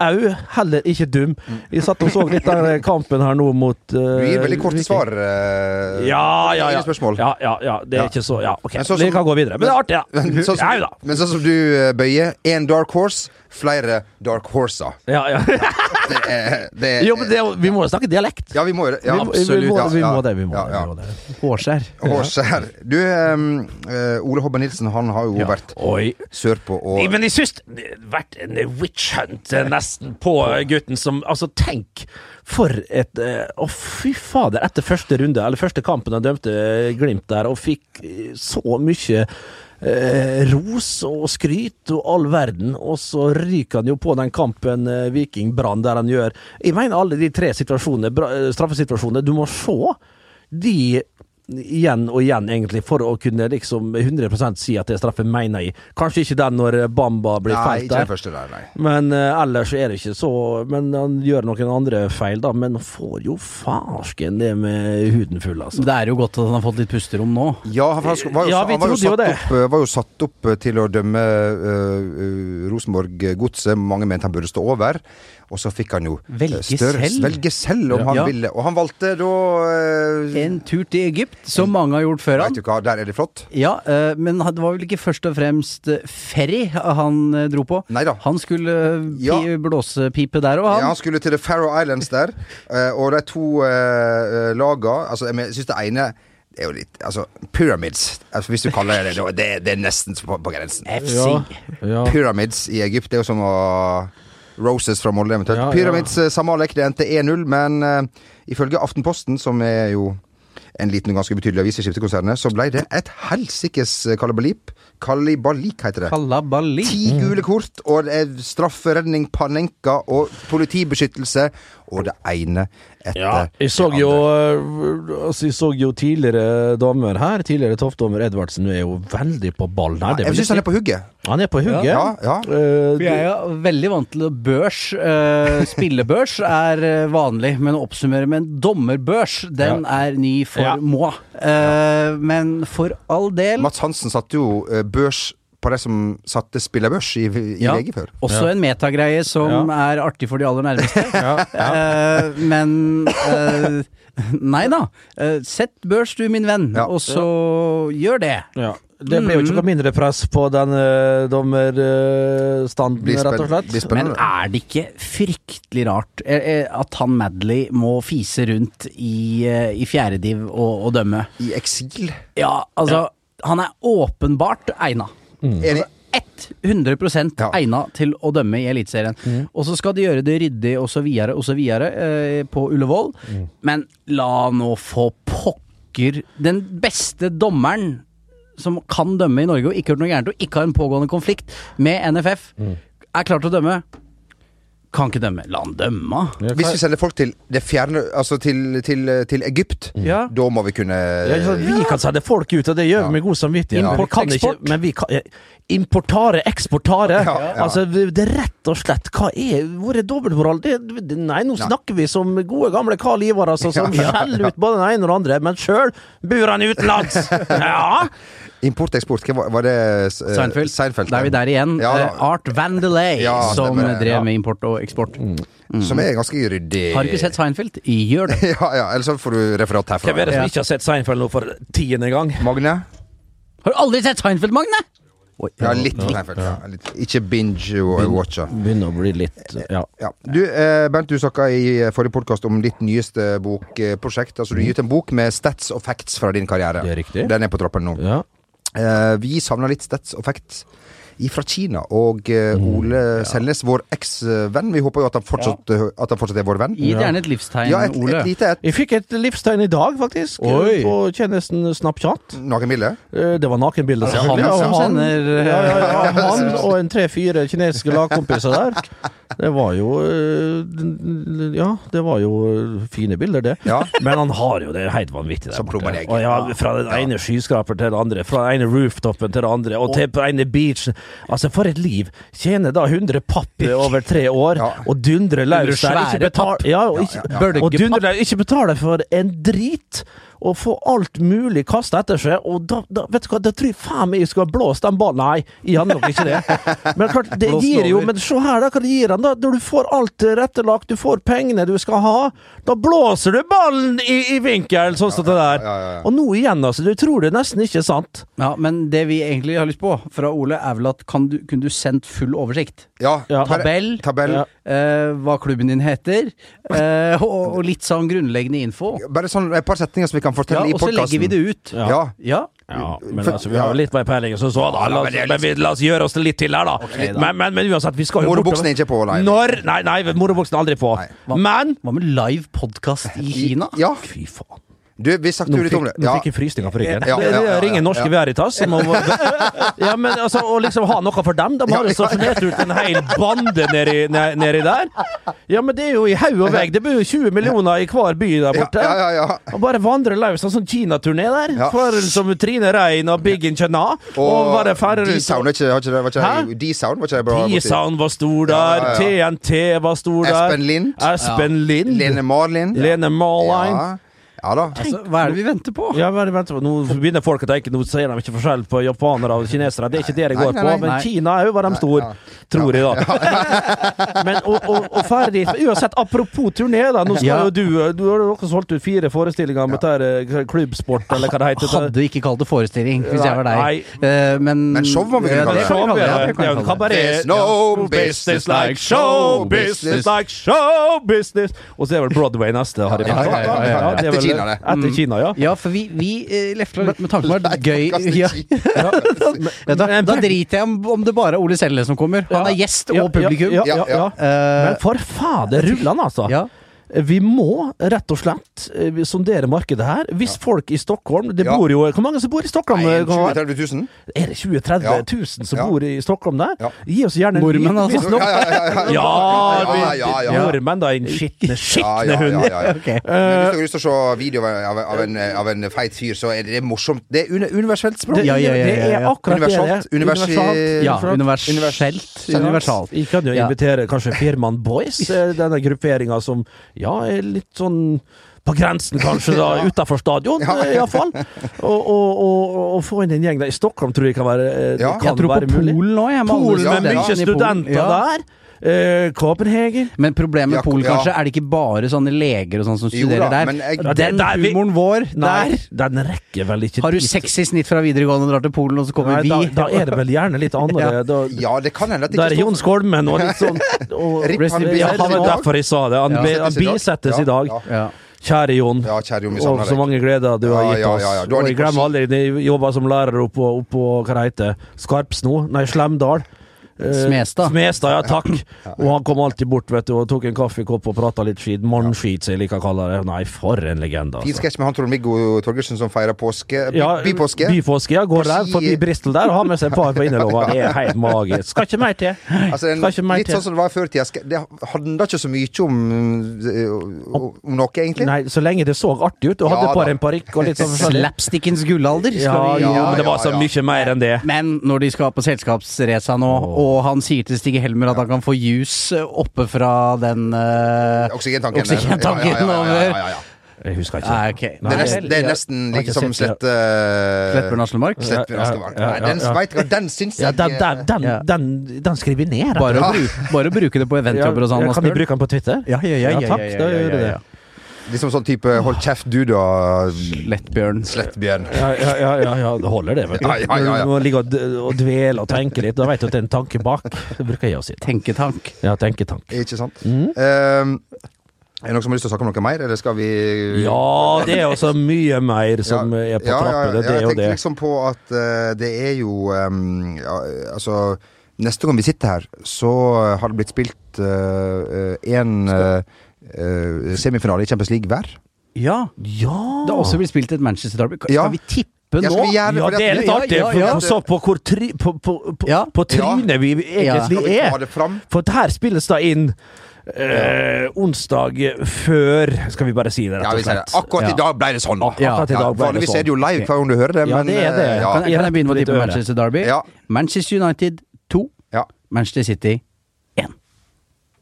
A: Au, heller ikke dum. Jeg satt og så litt den kampen her nå mot
B: Du
A: eh,
B: gir veldig korte
A: Viking.
B: svar. eh,
A: Ja, ja, ja.
B: Ingen spørsmål.
A: Ja, ja, ja. Det er
B: Ja.
A: ikke så Ja, OK.
B: Men sånn
A: Vi
B: som-
A: kan gå videre. Men det er artig, da.
B: Men sånn som,
A: Jau da.
B: men sånn som du eh, bøyer, én dark horse, flere dark horser.
A: Ja, ja.
B: Det er, det er,
A: Jo, men det, vi må jo snakke dialekt.
B: ja, vi må jo det. Ja,
A: vi, må- Vi må,
B: Ja,
A: vi må
B: ja.
A: det. Vi må,
B: Ja,
A: det,
B: ja.
A: vi må det.
C: Hårskjær.
B: Hårskjær. Du, eh, eh, Ole Hobben Nilsen, han har jo vært
A: Oi.
B: sørpå
A: Nei,
B: og
A: Men jeg syns det har vært en witch hunt eh, nesten på eh, gutten som Altså, tenk for et eh, Å, fy fader. Etter første runde, eller første kampen han dømte eh, Glimt der, og fikk eh, så mye eh, ros og skryt og all verden, og så ryker han jo på den kampen eh, Viking-Brann der han gjør Jeg mener alle de tre situasjonene, bra- eh, straffesituasjonene, du må se de igjen og igjen, egentlig, for å kunne liksom 100 si at det er straffe, mener jeg. Kanskje ikke den når Bamba blir
B: Nei,
A: felt
B: ikke den
A: der.
B: første der, nei.
A: Men eh, ellers er det ikke så Men han gjør noen andre feil, da. Men han får jo farsken det med huden full, altså.
C: Det er jo godt at han har fått litt pusterom nå.
B: Ja, for han sk- var jo,
A: Eh, Ja, vi
B: han var jo,
A: trodde jo
B: satt,
A: det.
B: opp, eh, var jo satt opp eh, til å dømme eh, eh, Rosenborg eh, Godset. Mange mente han burde stå over. Og så fikk han jo eh,
C: Velge
B: større-
C: selv.
B: velge selv om
C: Ja.
B: han
C: Ja.
B: ville. Og han valgte da eh,
C: En tur til Egypt, som mange har gjort før han.
B: Vet du hva, der er det flott.
C: Ja, eh, men det var vel ikke først og fremst eh, ferry han eh, dro på.
B: Neida.
C: Han skulle eh, pi
B: Ja.
C: blåsepipe der og
B: Ja,
C: han.
B: han skulle til The Faroe Islands der, eh, og de to eh, eh, laga Altså, jeg men- jeg syns det ene er jo litt Altså, pyramids, altså, hvis du kaller det det. Det, det er nesten på, på grensen.
C: FC.
A: Ja.
B: Pyramids i Egypt, det er jo som å Roses fra Molde, eventuelt.
A: Ja, ja.
B: Pyramids eh, samme lek, det endte 1-0, men eh, ifølge Aftenposten, som er jo en liten og ganske ubetydelig avis i skiftekonsernet, så ble det et helsikes kalibalip. Kalibalik heter det.
C: Kalabali.
B: Ti gule kort, og det er strafferedning, panenka og politibeskyttelse, og det ene etter
A: Ja, jeg så jo eh, altså, Jeg så jo tidligere dommer her. Tidligere toppdommer Edvardsen er jo veldig på ballen her. det vil
B: Jeg syns han er på hugget.
A: si. han er på hugget.
B: Ja, ja.
A: Eh,
C: For Jeg er veldig vant til at børs. eh, spillebørs er eh, vanlig, men å oppsummere med en dommerbørs, den er ny for
A: Ja.
C: moi. Eh, men for all del
B: Mats Hansen satte jo eh, børs på det som satte spillerbørs i, i
C: Ja.
B: VG før.
C: Også en metagreie som er artig for de aller nærmeste. Eh, men eh, Nei da. Eh, sett børs, du, min venn,
B: Ja.
C: og så gjør det.
A: Ja. Det blir jo ikke noe mindre press på den eh, dommerstanden,
B: Blir spenn-
A: rett og slett.
B: blir spennende.
C: Men er det ikke fryktelig rart eh, eh, at han Madley må fise rundt i, eh, i fjerdediv og, og dømme?
B: I eksil.
C: Ja, Mm. altså Han er åpenbart egna.
B: Enig.
C: 100 egnet
B: Ja. Mm.
C: egna til å dømme i Eliteserien. Og så skal de gjøre det ryddig og så videre og så videre eh, på Ullevål.
B: Mm.
C: Men la nå få pokker Den beste dommeren som kan dømme i Norge og ikke har gjort noe gærent og ikke har en pågående konflikt med NFF,
B: Mm.
C: er klar til å dømme. Kan ikke dømme. La han dømme.
B: Hvis vi sender folk til det fjerne Altså til, til, til Egypt,
C: Ja.
B: da må vi kunne eh,
A: Ja, ikke sant? vi kan sende folk ut, og det gjør vi med god samvittighet.
C: Ja.
A: Vi kan ikke,
C: Import-eksport.
A: men vi kan, eh, importare, eksportare.
B: Ja, ja.
A: Altså, vi- det er rett og slett Hva er hvor er dobbeltmoral? Det, det- nei, nå snakker vi som gode gamle Karl Ivar, altså, som skjeller ut både den ene og den andre, men sjøl bor han utenlands! Ja!
B: Import-eksport, hva var- var det eh,
C: Seinfeld.
B: Seinfeld.
C: Da er vi der igjen.
B: Ja, da.
C: Eh, Art Van Delay,
B: Ja,
C: som
B: stemmer det,
C: drev
B: ja. Mm.
C: med import og eksport.
B: Som er ganske ryddig.
C: Har du ikke sett Seinfeld? Gjør det.
B: Ja, ja, eller så får du referat herfra.
A: Hvem er det som ikke har sett Seinfeld nå for tiende gang?
B: Magne?
C: Har du aldri sett Seinfeld, Magne?
B: Ja, litt Seinfeld. Ja. litt. Ikke binge-watcher.
A: Begynner å bli litt Ja.
B: Ja. Du, eh, Bent, du snakka i eh, forrige podkast om ditt nyeste bokprosjekt. Altså, du har gitt en bok med stats og facts fra din karriere.
A: Det er riktig.
B: Den er på trappene nå.
A: ja.
B: Eh, vi savner litt stats og facts fra Kina. Og eh, Ole Selnes, vår eksvenn. Vi håper jo at han fortsatt, eh, at han fortsatt er vår venn.
C: Gi gjerne et livstegn,
B: Ja, et,
C: Ole.
B: et lite et.
A: Jeg fikk et livstegn i dag, faktisk,
C: Oi.
A: på tjenesten Snapchat.
B: Noen mille.
A: Eh, Det var nakenbilder, så han,
B: Ja,
A: og
C: som
A: han,
C: sender, eh,
A: ja, ja, ja, han og en tre-fire kinesiske lagkompiser der. Det var jo eh, n- n- Ja, det var jo eh, fine bilder, det.
B: Ja.
A: Men han har jo det helt vanvittig der
B: Som
A: borte.
B: promenade.
A: Og ja, fra den ene skyskraperen til den andre, fra den ene rooftopen til den andre, og til på den ene beachen. Altså, for et liv! Tjener da 100 papp over tre år,
B: Ja.
A: og dundrer løs der.
C: svære
A: Ikke betal-
C: papp.
A: ja, og ikke,
C: ja, ja.
A: og dundrer løs, ikke betaler for en drit, og får alt mulig kasta etter seg, og da, da vet du hva, da tror jeg faen meg jeg skulle ha blåst den ballen. Nei, jeg hadde nok ikke det. Men klart, det
C: Blåst den
A: gir jo
C: over.
A: Men se her, da, hva det gir han, da. Når du får alt tilrettelagt, du får pengene du skal ha, da blåser du ballen i, i vinkel, sånn som det der.
B: ja, ja, ja.
A: Og nå igjen, altså. Du tror det nesten ikke er sant.
C: Ja, men det vi egentlig har lyst på fra Ole, er vel at kan du, kunne du sendt full oversikt?
B: Ja,
A: Ja.
B: tar-
C: Tabell.
B: tabell.
A: Ja.
C: Eh, hva klubben din heter, eh, og, og litt sånn grunnleggende info.
B: Bare sånn et par setninger som vi kan
C: Ja,
B: fortelle i
C: og så
B: podkasten.
C: legger vi det ut.
B: Ja.
C: Ja.
A: Ja, men
B: For-
A: altså, vi har jo
B: ja.
A: litt mer peiling enn som så. Da. La, oss, men vi, la oss gjøre oss litt til her, da. Men, men, men uansett, vi skal jo
B: Morobuksen er ikke på, nei.
A: nei. Når? Nei, nei, morobuksen er aldri på. Men
C: Hva med live podkast i Kina?
B: Ja.
A: Fy faen.
B: Du, vi snakket
A: Nå
B: jo litt
A: fikk,
B: om det.
A: nå fikk jeg frysninger på ryggen.
B: Ja, ja, ja,
A: Det-
B: ja,
A: det ringer
B: ja.
A: norske Veritas. Som om, ja, men altså, å liksom ha noe for dem. De har jo stasjonert ut en hel bande nedi, ned- nedi der. Ja, men det er jo i haug og vegg. Det bor jo 20 millioner i hver by der
B: Ja,
A: borte.
B: ja, ja, ja.
A: Og bare vandre løs en sånn Kina-turné der.
B: Ja.
A: For som Trine Rein og Big in Chana. Og, bare ferde rundt
B: D-Sound, var ikke, var ikke, det- var ikke,
A: Hæ?
B: det- D-Sound var ikke det bra? borti?
A: P-Sound var stor der,
B: Ja, ja, ja.
A: TNT var stor der.
B: Espen Lind.
A: Espen Lind.
B: Lene Marlin.
A: Lene Marlein.
B: Ja. ja da.
C: Altså, hva er det vi venter på?
A: Ja, men vent, nå begynner folk å tenke Nå sier de ikke forskjell på japanere og kinesere. Det er ikke det det
B: Nei,
A: går
B: nei,
A: på,
B: nei,
A: men
C: nei.
A: Kina er jo hva de står, tror jeg, da. Men og, og, og ferdig Uansett, apropos turné, da. Nå skal
C: Ja.
A: jo du Du har jo også solgt ut fire forestillinger med dette klubbsport, eller hva det heter.
C: Hadde ikke kalt det forestilling, hvis jeg var
A: Nei.
C: deg. Eh, men,
B: Men show må vi kunne
C: Ja,
B: kalle
A: Det er
B: det.
C: kan
A: show,
C: vi kalle
A: ja. Det er jo en
C: det kan vi kalle det.
A: kabaret.
B: There's no business like show business.
A: like show business. Og så er vel Broadway neste, har jeg
B: Ja, ja, ja, ja, ja.
A: det er vel-
B: Etter Kina, det.
C: Mm.
A: Etter Kina, ja.
C: Ja, for vi, vi eh, lefla litt med tanken på at det var gøy
B: Kastet
C: ja.
B: tid.
C: Ja, da,
A: Men-
C: da driter jeg om, om det bare er Ole Selle som kommer. Han er gjest
A: Eh, Ja,
C: og publikum.
A: Ja, ja, ja, ja.
C: Eh,
A: Men for fader rullan, altså.
C: ja.
A: Vi må rett og slett eh, vi sondere markedet her. Hvis folk i Stockholm Det
B: Ja.
A: bor jo Hvor mange som bor i Stockholm?
B: Nei,
A: eh, Konrad?
B: 20 000-30 000?
A: er det 20 000-30
B: Ja.
A: 000 som
B: Ja.
A: bor i Stockholm der?
B: Ja.
A: Gi oss gjerne en
C: Nordmenn,
A: liten-
C: altså.
A: hvis nok-
B: Ja, ja, ja,
A: Ja,
B: ja, ja. Ja, ja, ja.
A: vi- Nordmenn, da. En skitne,
B: Ja,
A: skitne
B: ja,
A: hund.
B: ja, ja, ja.
C: Ok.
B: Men
A: Eh,
B: hvis du har lyst til å se video av, av, en, av en feit fyr, så er det morsomt. Det er uni universelt språk.
A: Det,
C: Ja, ja, ja,
A: det
C: ja,
A: er
C: ja.
A: akkurat
B: Universalt,
A: det det er.
B: universi-
C: ja,
B: Universalt.
C: universelt. Universalt.
A: Vi kan jo
C: Ja.
A: invitere kanskje Firman Boys, eh, denne grupperinga som ja, er litt sånn på grensen, kanskje, da, utafor stadion, eh, i hvert fall. Og, og, og, og få inn en gjeng der. I Stockholm tror jeg kan være, eh, det
B: Ja.
A: kan
C: Jeg tror på
A: være mulig.
C: Polen nå. jeg, med alle
A: Polen med
C: studentene i
A: mye
C: Polen.
A: studenter
C: Ja.
A: der. Eh, Copenhagen.
C: Men problemet
B: Ja,
C: med Polen
B: ja.
C: kanskje er det ikke bare sånne leger og sånn som
B: Jo da,
C: studerer der.
B: men jeg-
A: Det-
C: Den
A: der vi-
C: humoren vår
A: Nei,
C: der
A: den rekker vel ikke
C: Har du
A: dit.
C: seks i snitt fra videregående og drar til Polen, og så kommer
A: Nei,
C: vi?
A: da, da er det vel gjerne litt annerledes. Da-
B: Ja, det kan hende at det
A: Der er
B: ikke
A: Jon Skolmen og litt sånn og,
B: Rip, han
A: ja,
B: bisettes
A: Det
B: i
A: var
B: dag.
A: derfor jeg sa det. Han,
B: Ja.
A: bi- han bisettes i dag.
B: Ja,
C: ja.
A: Kjære Jon,
B: Ja, kjære Jon, vi
A: og
B: savner
A: så
B: deg.
A: mange gleder du har
B: Ja,
A: gitt
B: ja,
A: oss.
B: ja, ja. Du har
A: Og jeg
B: gitt oss-
A: glemmer aldri jeg jobba som lærer oppå, oppå hva det heter, Skarpsno? Nei, Slemdal. Eh,
C: Smestad.
A: Smestad, ja takk. Og han kom alltid bort vet du, og tok en kaffekopp og prata litt skit. Mannskit, som jeg liker å kalle det. Nei, for en legende.
B: Fin
A: Altså.
B: sketsj med han Trond-Viggo Torgersen som feirer påske. By,
A: Ja,
B: bypåske.
A: bypåske, ja, går der
B: På ski-
A: forbi Bristol der og har med seg et par på innerlova. Det er helt magisk. Skal ikke mer til.
B: Altså en,
A: Skal ikke mer
B: litt
A: til.
B: sånn som det var før i tida. Sk- Det handla ikke så mye om, eh, om, om noe, egentlig.
A: Nei, så lenge det så artig ut. Og hadde
B: Ja,
A: bare
B: da.
A: en parykk og litt sånn forskjellig.
C: Slapstickens gullalder,
A: Ja,
C: skal vi
A: jo,
B: Ja,
A: men det
B: ja,
A: var så
B: ja.
A: mye mer enn det.
C: Men når de skal på selskapsreisa nå, og han sier til Stig Helmer at han kan få jus oppe fra den eh,
B: Oksygentanken.
C: oksygentanken
B: Ja, ja, ja, ja, ja, ja, ja.
A: Jeg husker ikke.
C: Nei, Ah, ok.
A: Nei.
B: Det er nesten, det er
A: jeg-
B: nesten
A: jeg har ikke
B: liksom
A: sett
B: slette
C: Slettbjørn Nasjonalmark.
A: Ja,
B: Slettbjørn
A: ja,
B: Askemark.
A: ja,
B: Nei,
A: ja,
B: den
A: ja.
B: veit jeg Den syns
A: Ja,
B: jeg
A: den, den, den,
C: Ja.
A: den, den skriver vi ned.
C: Bare, å bruke, bare å bruke det på eventjobber og sånn.
A: kan vi
C: Asbjørn.
A: bruke den på Twitter?
C: Ja, ja, ja, ja,
A: takk,
C: ja,
A: da
C: ja,
A: gjør du
C: ja,
A: det.
C: ja.
B: Liksom sånn type hold kjeft, du da,
C: Slettbjørn.
B: Slettbjørn.
A: Ja, ja, ja, ja, ja, det holder det, vet du.
B: Ja, ja, ja, ja.
A: Når du ligger og, d- og dveler og tenker litt, da vet du at det er en tanke bak. Det bruker jeg å si.
C: Tenketank.
A: Ja, tenketank.
B: Ikke sant? Ehm, Er det noen som har lyst til å snakke om noe mer, eller skal vi
A: Ja, det er altså mye mer som eh,
B: Ja,
A: er på trappene. Det
B: jeg
A: er jo
B: tenkte
A: det.
B: liksom på at eh, det er jo ehm, ja, Altså, neste gang vi sitter her, så har det blitt spilt eh, én eh, semifinale i Champions League hver.
C: Ja.
B: liksom-
A: Ja!
C: Det har også blitt spilt et Manchester Derby. Skal
B: Ja.
C: vi tippe
B: Ja,
C: nå?
B: skal vi gjøre-
A: Ja,
B: fordi at-
A: det er litt
B: ja,
A: artig,
B: ja,
A: for
B: ja.
A: for så på hvor tri, på, på, på,
C: Ja.
A: på trynet vi
B: Skal
A: egentlig
B: vi ta
A: er.
B: det fram?
A: For det her spilles da inn eh, onsdag før Skal vi bare si det,
B: Ja,
A: rett
B: vi
A: og
B: sier det.
A: slett?
B: Akkurat
C: Ja.
B: i dag ble det sånn.
A: Ak- akkurat i dag ble det
B: vanligvis
A: sånn.
B: er det jo live hver gang du hører det,
A: Ja,
B: men
A: det er det.
B: eh,
C: Kan,
A: Ja,
C: kan jeg begynne med å
A: litt
C: tippe
A: øre.
C: Manchester Derby?
B: Ja.
C: Manchester United 2,
B: Ja.
C: Manchester City 1.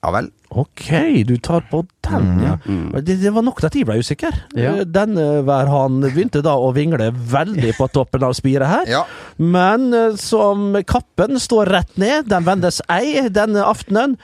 B: ja vel.
A: Ok, du tar på den, ja. Men Det, det var nok til at jeg ble usikker.
C: Ja.
A: Eh, Denne hver han begynte da å vingle veldig på toppen av spiret her.
B: Ja.
A: Men eh, som kappen står rett ned, den vendes ei denne aftenen.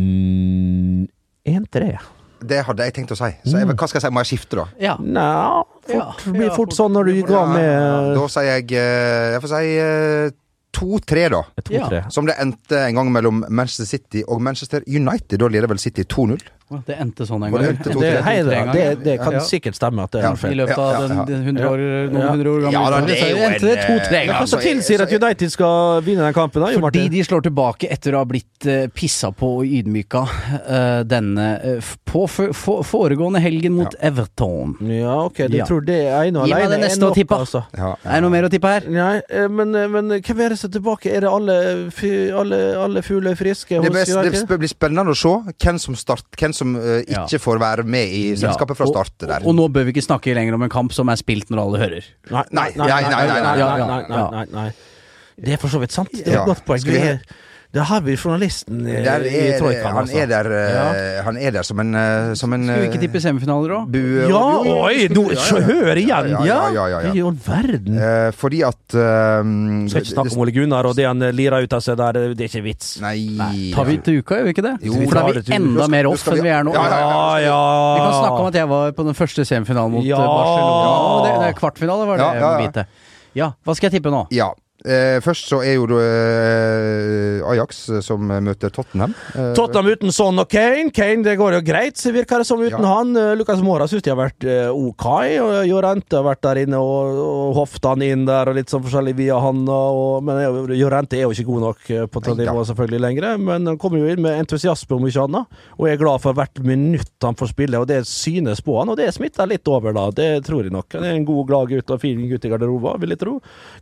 A: Mm, 1-3.
B: Det hadde jeg tenkt å si. Så jeg,
A: Mm.
B: hva skal jeg si? Må jeg skifte, da?
C: Ja.
A: Nja,
C: Ja,
A: fort, blir
C: ja,
A: fort
C: fort-
A: sånn når du går med
B: Da sier jeg eh, Jeg får si eh, 2-3, da.
C: Ja.
A: 2-3.
B: Som det endte en gang mellom Manchester City og Manchester United. Da leder vel City 2-0.
C: Det endte sånn en
B: Var det
C: gang.
B: endte to,
A: Det,
B: tre,
A: hei, det, det, det kan
C: Ja.
A: sikkert stemme at det
B: Ja.
A: er feil.
C: I løpet av
B: Ja, ja, ja.
C: den- den 100 år, noen
A: Ja.
C: hundre år gamle
B: Ja, da,
C: historien,
B: det er
C: så
B: jo en,
C: endte det to-tre
B: eh,
A: Hva
C: ganger.
A: som
B: så-
A: Altså, tilsier at
B: så-
A: United skal vinne den kampen? da, Jo
C: Fordi
A: Martin?
C: de slår tilbake etter å ha blitt eh, pissa på og ydmyka eh, denne eh, f- på f- f- foregående helgen mot Everton.
A: Ja, ok, du
C: Ja.
A: tror det ene og
C: Gi meg
A: alene
C: det
A: er
C: neste å
A: nok,
C: tippe.
A: altså.
B: Ja.
C: Er det noe mer å tippe her?
A: Nei, eh, men, men hvem er det som er tilbake? Er det alle, fy- alle, alle fugler friske hos
B: Det, blir- det
A: United?
B: sp- blir spennende å se hvem som, start, hvem som eh,
C: Ja.
B: ikke får være med i selskapet fra
C: Ja, og-
B: start. Der.
C: Og, og nå bør vi ikke snakke lenger om en kamp som er spilt når alle hører.
A: Nei,
B: Nei, nei,
A: nei,
B: nei, nei,
C: ja, ja,
A: nei, nei,
C: ja.
A: nei, nei. Det er for så vidt sant. Det er
B: Ja.
A: et godt poeng.
B: Skal vi
A: Det
B: he-
A: er- Der har vi journalisten eh,
B: Der
A: i
B: er,
A: troikaen,
B: han,
A: altså.
B: er der, eh, han er der som en, eh, som en
C: Skal vi ikke
B: eh,
C: tippe semifinaler òg?
B: bue-
A: Ja,
B: Jo, jo, jo,
A: oi!
B: skulle-
A: Nå,
B: ja, ja,
A: sjå,
B: ja.
A: hør igjen!
B: Ja, ja, ja, ja, ja.
A: Det er jo all verden.
B: Eh, fordi at eh,
A: Skal ikke snakke om Ole Gunnar og det han eh, lirer ut av seg der, det er ikke vits.
B: Nei.
C: Tar vi til uka, gjør vi ikke det?
B: Jo,
C: For da
A: tar
C: er
A: det til uka.
C: vi enda mer
B: Nå
C: off
B: skal vi-
C: enn vi er nå.
B: Ja, ja, ja.
C: Vi kan snakke om at jeg var på den første semifinalen mot
A: Ja.
C: eh, Barcelona. Det, det er kvartfinale, var det
B: Ja, ja, ja.
C: jeg må vite. Ja, hva skal jeg tippe nå?
B: Ja. Eh, først så er jo eh, Ajax eh, som møter Tottenham. Eh,
A: Tottenham uten Son og Kane. Kane det går jo greit, så virker det som uten
B: Ja.
A: han. Eh, Lucas Mora syns de har vært eh, ok. og Jorente har vært der inne og, og hoftan inn der og litt sånn forskjellig via han. Og, men eh, Jorente er jo ikke god nok eh, på det
B: Neida.
A: nivået selvfølgelig lenger. Men han kommer jo inn med entusiasme om ikke annet, og er glad for hvert minutt han får spille. Og det synes på han, og det smitter litt over, da. Det tror jeg nok. Han er en god, glad gutt og fin gutt i garderoben, vil jeg tro.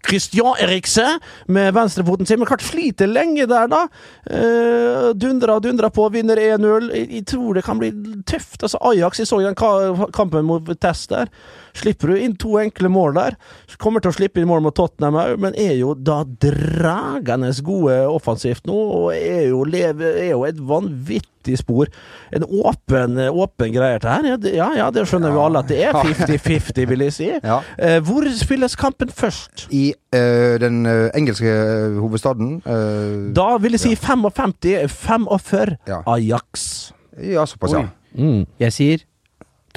A: Christian Eriksen med venstrefoten sin, men klart flyter lenge der, da. Eh, dundra og dundra på, vinner 1-0. Jeg, jeg tror det kan bli tøft. Altså, Ajax, jeg så jo den ka kampen mot Test der. Slipper du inn to enkle mål der. Kommer til å slippe inn mål mot Tottenham òg, men er jo da dragende gode offensivt nå, og er jo, leve, er jo et vanvittig spor. En åpen, åpen greie, dette her. Ja, det- Ja, ja, det skjønner vi alle at det er 50-50, vil jeg si.
B: Ja.
A: Eh, hvor spilles kampen først?
B: I eh, den eh, engelske eh, hovedstaden. eh,
A: Da vil jeg si 55, 45
B: Ja.
A: Ajax.
B: ja, såpass, ja.
C: Jeg sier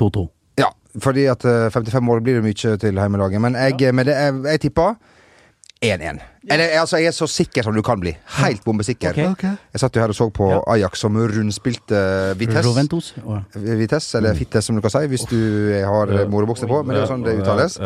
C: 2-2.
B: Ja, fordi at eh, 55 mål blir det mye til heimelaget. Men jeg, eh, men det, jeg, jeg tipper 1-1. Eller, altså, jeg er så sikker som du kan bli. Helt bombesikker. Jeg satt jo her og så på Ajax som rundspilte eh, Vitesse.
C: Roventos. Å,
B: Vitesse, eller Fittes som du kan si, hvis du har eh, morebukse på. Men det er jo sånn det uttales.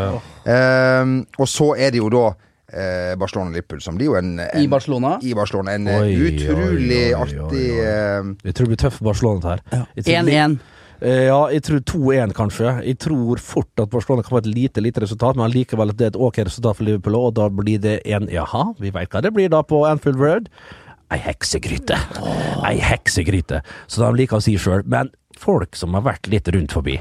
B: Ehm, og så er det jo da eh, Barcelona-Liverpool, som blir jo en, en
C: I Barcelona.
B: I Barcelona. En eh,
A: Oi, oi,
B: utrolig
A: oi, oi,
B: artig
A: oi.
B: eh,
A: Jeg tror det blir tøff Barcelona her. Jeg tror-
C: 1-1.
A: Eh, Ja, jeg tror 2-1 kanskje. Jeg tror fort at Barcelona kan få et lite lite resultat, men likevel at det er et ok resultat for Liverpool, og da blir det 1 Jaha, vi veit hva det blir da på Anfield Road. Ei heksegryte. Ei heksegryte, som de liker å si sjøl. Men folk som har vært litt rundt forbi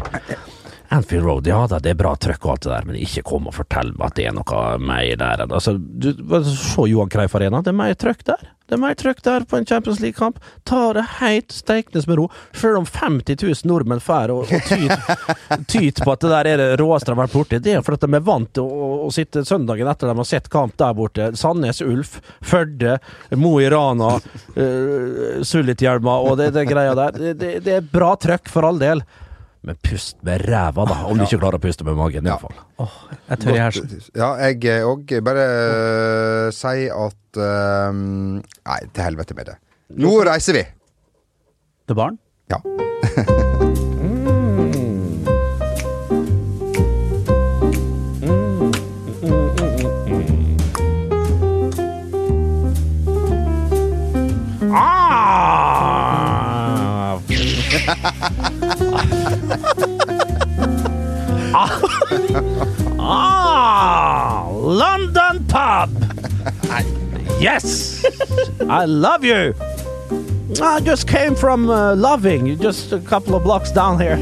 A: Anfield Road, ja da, det er bra trøkk og alt det der, men ikke kom og fortell meg at det er noe mer der. enn- Altså, du, se Johan Kreif Arena, det er mer trøkk der. Det er mer trøkk der på en Champions League-kamp. Ta det heit steikende med ro, selv om 50 000 nordmenn fær og, og tyt, tyt på at det der er det råeste de har vært borti. Det er fordi at de er vant til å, å sitte søndagen etter de har sett kamp der borte. Sandnes Ulf, Førde, Mo i Rana, uh, Sulitjelma og det, det greia der. Det, det, det er bra trøkk, for all del. Men pust med ræva, da, om du ikke klarer å puste med magen. i
B: Ja.
A: hvert fall.
C: Jeg tør i hersen.
B: Ja, jeg òg. Bare eh, si at eh, Nei, til helvete med det. Nå reiser vi!
C: Til barn?
B: Ja.
A: Ah, London pub. Yes, I love you. I just came from uh, Loving, just a couple of blocks down here.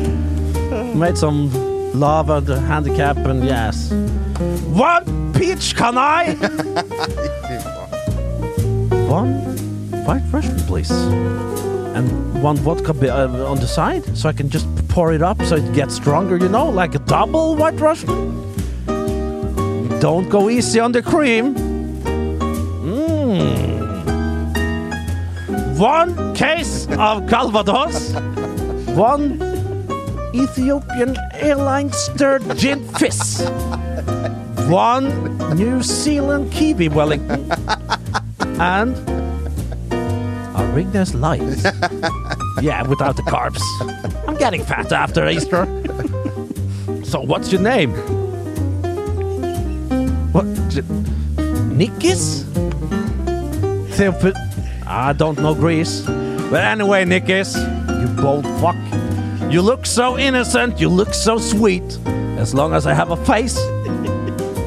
A: Made some love and a handicap, and yes, one peach can I? one white Russian, please, and one vodka be- uh, on the side, so I can just pour it up, so it gets stronger. You know, like a double white Russian. Don't go easy on the cream. Mm. One case of Calvados, one Ethiopian Airlines stirred gin fizz, one New Zealand kiwi Wellington, and a Rignas Light. Yeah, without the carbs. I'm getting fat after Easter. So, what's your name? What? J- Nikis? Theophil. I don't know Greece. But anyway, Nikis, you bold fuck. You look so innocent, you look so sweet. As long as I have a face,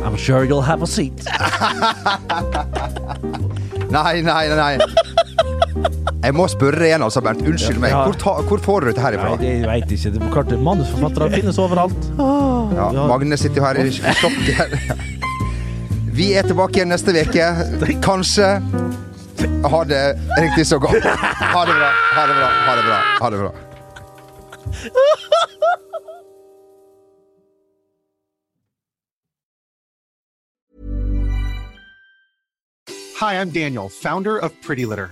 A: I'm sure you'll have a seat.
B: Nei, nei, nei. nei. Jeg må spørre igjen, altså, Bernt. Unnskyld meg.
A: Ja.
B: Hvor, ta, hvor får du dette her
A: Nei,
B: ifra?
A: det veit ikke. Det er klart det er Manusforfattere finnes overalt.
B: Ja,
A: Ja.
B: Magne sitter jo her i stokken. Vi er tilbake igjen neste uke. Kanskje. Ha det riktig så godt. Ha det bra. Ha det bra. Ha det bra. Ha det bra.
H: Hi, I'm Daniel, founder of Pretty Litter.